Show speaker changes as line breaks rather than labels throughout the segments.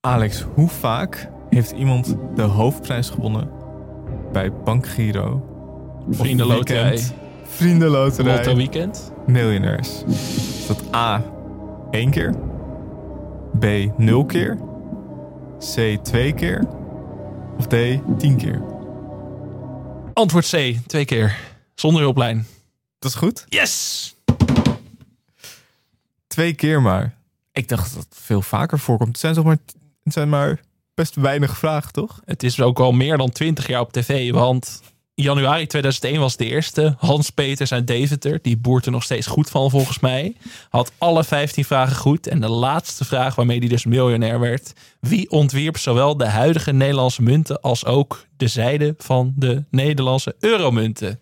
Alex, hoe vaak heeft iemand de hoofdprijs gewonnen bij Bankgiro? of
Vriendenloterij.
weekend? Vriendenloterij.
Lotto weekend.
miljonairs. Is dat A, 1 keer? B, 0 keer? C, 2 keer? Of D, 10 keer?
Antwoord C, twee keer. Zonder hulplijn.
Dat is goed.
Yes!
Twee keer maar. Ik dacht dat het veel vaker voorkomt. Het zijn, toch maar, het zijn maar best weinig vragen, toch?
Het is ook al meer dan 20 jaar op tv, want in januari 2001 was de eerste. Hans Peters uit Deventer, die boert er nog steeds goed van volgens mij, had alle 15 vragen goed. En de laatste vraag waarmee hij dus miljonair werd. Wie ontwierp zowel de huidige Nederlandse munten als ook de zijde van de Nederlandse euromunten?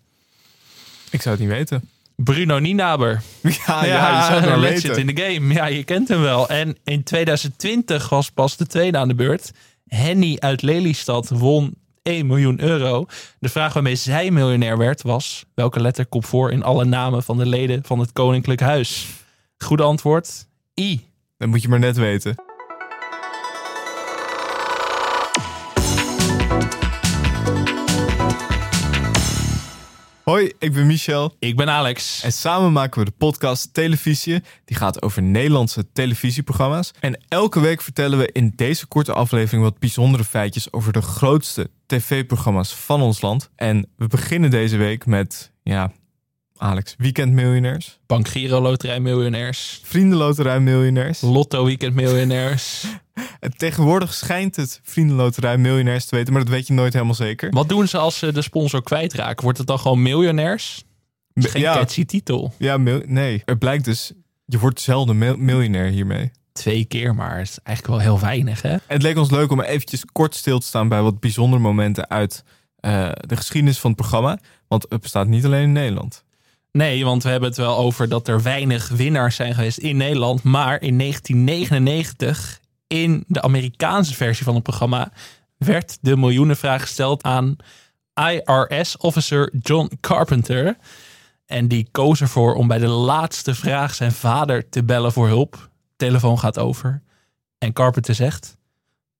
Ik zou het niet weten.
Bruno Nienaber.
Ah, Ja,
ja,
je zou het maar
legend
weten.
in de game. Ja, je kent hem wel. En in 2020 was pas de tweede aan de beurt. Henny uit Lelystad won 1 miljoen euro. De vraag waarmee zij miljonair werd was... welke letter komt voor in alle namen van de leden van het Koninklijk Huis? Goede antwoord, I.
Dat moet je maar net weten. Hoi, ik ben Michel.
Ik ben Alex.
En samen maken we de podcast Televisie. Die gaat over Nederlandse televisieprogramma's. En elke week vertellen we in deze korte aflevering wat bijzondere feitjes over de grootste tv-programma's van ons land. En we beginnen deze week met, ja, Alex, Weekend Miljonairs,
Bank Giro Loterij Miljonairs.
Vriendenloterij Miljonairs.
Lotto Weekend Miljonairs.
En tegenwoordig schijnt het Vriendenloterij Miljonairs te weten, maar dat weet je nooit helemaal zeker.
Wat doen ze als ze de sponsor kwijtraken? Wordt het dan gewoon miljonairs? Dat is geen
ja,
catchy titel.
ja mil- nee. Er blijkt dus, je wordt zelden mil- miljonair hiermee.
Twee keer, maar het is eigenlijk wel heel weinig, hè?
Het leek ons leuk om eventjes kort stil te staan bij wat bijzondere momenten uit eh, de geschiedenis van het programma. Want het bestaat niet alleen in Nederland.
Nee, want we hebben het wel over dat er weinig winnaars zijn geweest in Nederland. Maar in 1999, in de Amerikaanse versie van het programma, werd de miljoenenvraag gesteld aan IRS-officer John Carpenter. En die koos ervoor om bij de laatste vraag zijn vader te bellen voor hulp. Telefoon gaat over. En Carpenter zegt: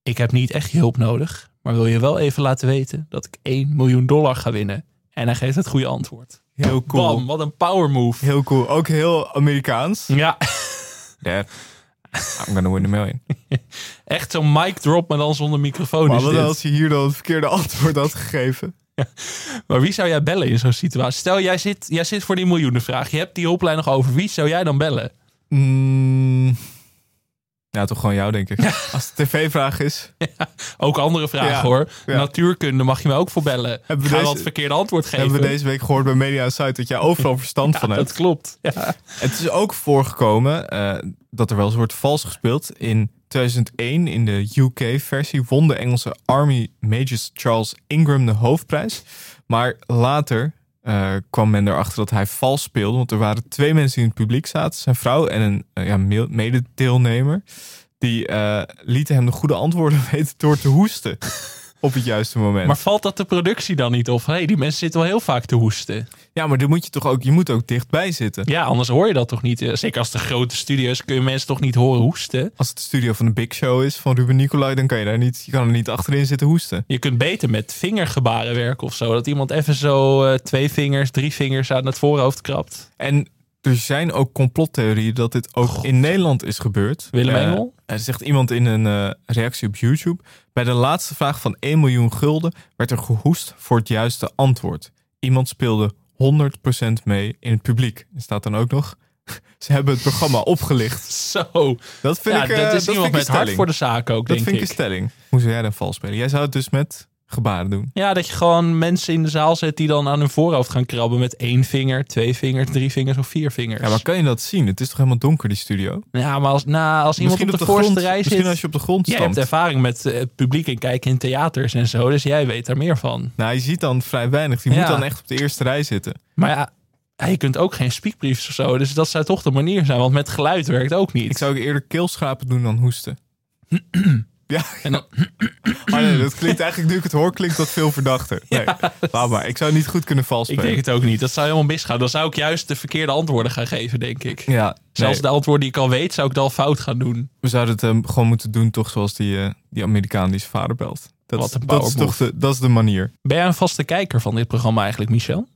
Ik heb niet echt je hulp nodig, maar wil je wel even laten weten dat ik 1 miljoen dollar ga winnen? En hij geeft het goede antwoord.
Heel cool.
Bam, wat een power move.
Heel cool. Ook heel Amerikaans.
Ja,
Dad, I'm gonna win a million.
echt zo'n mic drop, maar dan zonder microfoon
Maar
is
wat
dit.
als je hier dan het verkeerde antwoord had gegeven?
Maar wie zou jij bellen in zo'n situatie? Stel, jij zit, jij zit voor die miljoenenvraag. Je hebt die hulplijn nog over. Wie zou jij dan bellen?
Mm, ja, toch gewoon jou, denk ik. Als het tv-vraag is.
Ook andere vragen
Ja,
hoor.
ja.
Natuurkunde mag je me ook voor bellen. Ga
we
wel
deze-
het verkeerde antwoord geven.
Hebben we deze week gehoord bij Media Site dat jij overal verstand
Ja,
van hebt.
dat klopt. Ja.
Het is ook voorgekomen eh, dat er wel eens wordt vals gespeeld. In 2001, in de UK-versie, won de Engelse Army Major Charles Ingram de hoofdprijs. Maar later eh, kwam men erachter dat hij vals speelde. Want er waren twee mensen die in het publiek zaten. Zijn vrouw en een eh, ja, me- mededeelnemer. Die eh, lieten hem de goede antwoorden weten door te hoesten. Op het juiste moment.
Maar valt dat de productie dan niet op? Hey, die mensen zitten wel heel vaak te hoesten.
ja, maar dan moet je toch ook, je moet ook dichtbij zitten.
Ja, anders hoor je dat toch niet. Eh, Zeker als de grote studio's kun je mensen toch niet horen hoesten.
Als het de studio van de Big Show is van Ruben Nicolai, dan kan je daar niet, je kan er niet achterin zitten hoesten.
Je kunt beter met vingergebaren werken of zo. Dat iemand even zo eh, twee vingers, drie vingers aan het voorhoofd krabt.
En er zijn ook complottheorieën dat dit ook in Nederland is gebeurd.
Willem
Eh,
Engel?
Er zegt iemand in een eh, reactie op YouTube. Bij de laatste vraag van 1 miljoen gulden werd er gehoest voor het juiste antwoord. Iemand speelde 100% mee in het publiek. Er staat dan ook nog. Ze hebben het programma opgelicht.
Zo.
Dat vind
ja,
ik eh,
dat is
dat
iemand
vind ik een
met hart
stelling.
voor de zaak
Dat
ook, denk
vind ik
ik.
een stelling. Hoe zou jij dan vals spelen? Jij zou het dus met gebaren doen.
ja, dat je gewoon mensen in de zaal zet die dan aan hun voorhoofd gaan krabben met één vinger, twee vingers, drie vingers of vier vingers.
Ja, maar kan je dat zien? Het is toch helemaal donker, die studio?
Ja, maar als, nou, als iemand op
misschien
de, voorste
grond,
rij
Misschien
zit...
als je op de grond
Jij
stamt.
hebt ervaring met eh, het publiek en kijken in theaters en zo, dus jij weet daar meer van.
Nou, je ziet dan vrij weinig. Die
Ja.
moet dan echt op de eerste rij zitten.
Maar ja, ja, je kunt ook geen speakbriefs of zo, dus dat zou toch de manier zijn, want met geluid werkt ook niet.
Ik zou ook eerder keelschrapen doen dan hoesten. ja, Ja.
En dan,
Ah, nee, dat klinkt eigenlijk, nu ik het hoor, klinkt dat veel verdachter. Nee, laat maar. Ik zou niet goed kunnen
ik
valspelen.
denk het ook niet. Dat zou helemaal misgaan. Dan zou ik juist de verkeerde antwoorden gaan geven, denk ik.
Ja, nee,
Zelfs de antwoorden die ik al weet, zou ik dan fout gaan doen.
we zouden het eh, gewoon moeten doen, toch zoals die, eh, die Amerikaan die zijn vader belt. Dat,
Wat
is-
een
dat is
power
toch de, dat is de manier.
Ben jij een vaste kijker van dit programma eigenlijk, Michel?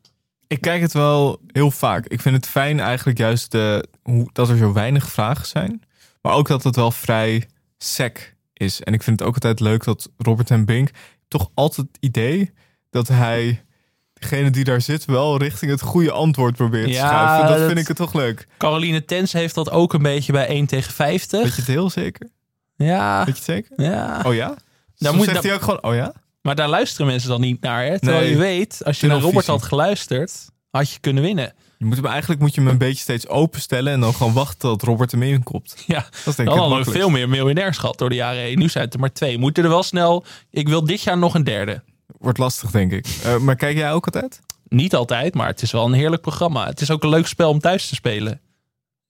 Ik kijk het wel heel vaak. Ik vind het fijn eigenlijk juist de, hoe, dat er zo weinig vragen zijn. Maar ook dat het wel vrij sec is. En ik vind het ook altijd leuk dat Robert en Bink toch altijd het idee dat hij degene die daar zit wel richting het goede antwoord probeert
Ja,
te schuiven. Dat,
dat-
vind ik het toch leuk.
Caroline Tens heeft dat ook een beetje bij 1 tegen 50.
Weet je het heel zeker?
Ja,
Weet je het zeker?
ja.
Oh ja? Soms
moet-
zegt
dan-
hij ook gewoon, oh ja?
Maar daar luisteren mensen dan niet naar. Hè? Terwijl
Nee.
je weet, als je naar Robert
Tunnelvisie.
had geluisterd, had je kunnen winnen.
Je moet hem, eigenlijk moet je hem een beetje steeds openstellen en dan gewoon wachten tot Robert hem inkopt.
Ja,
Dat is denk ik
dan
het
hadden we
makkelijkst.
veel meer miljonairs gehad door de jaren heen. Nu zijn het er maar twee. Moeten er wel snel. Ik wil dit jaar nog een derde.
Wordt lastig, denk ik. Eh, maar kijk jij ook altijd?
Niet altijd, maar het is wel een heerlijk programma. Het is ook een leuk spel om thuis te spelen.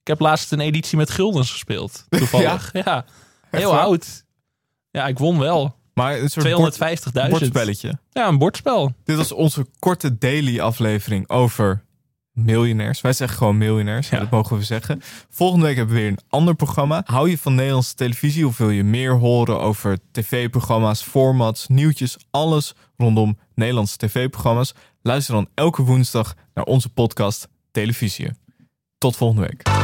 Ik heb laatst een editie met guldens gespeeld. Toevallig. Ja,
Echt
heel
waar?
oud. Ja, ik won wel.
Maar een soort
250.000.
bord, bordspelletje.
Ja, een bordspel.
Dit was onze korte daily aflevering over miljonairs. Wij zeggen gewoon miljonairs,
Ja.
dat mogen we zeggen. Volgende week hebben we weer een ander programma. Hou je van Nederlandse televisie of wil je meer horen over tv-programma's, formats, nieuwtjes, alles rondom Nederlandse tv-programma's? Luister dan elke woensdag naar onze podcast Televisie. Tot volgende week.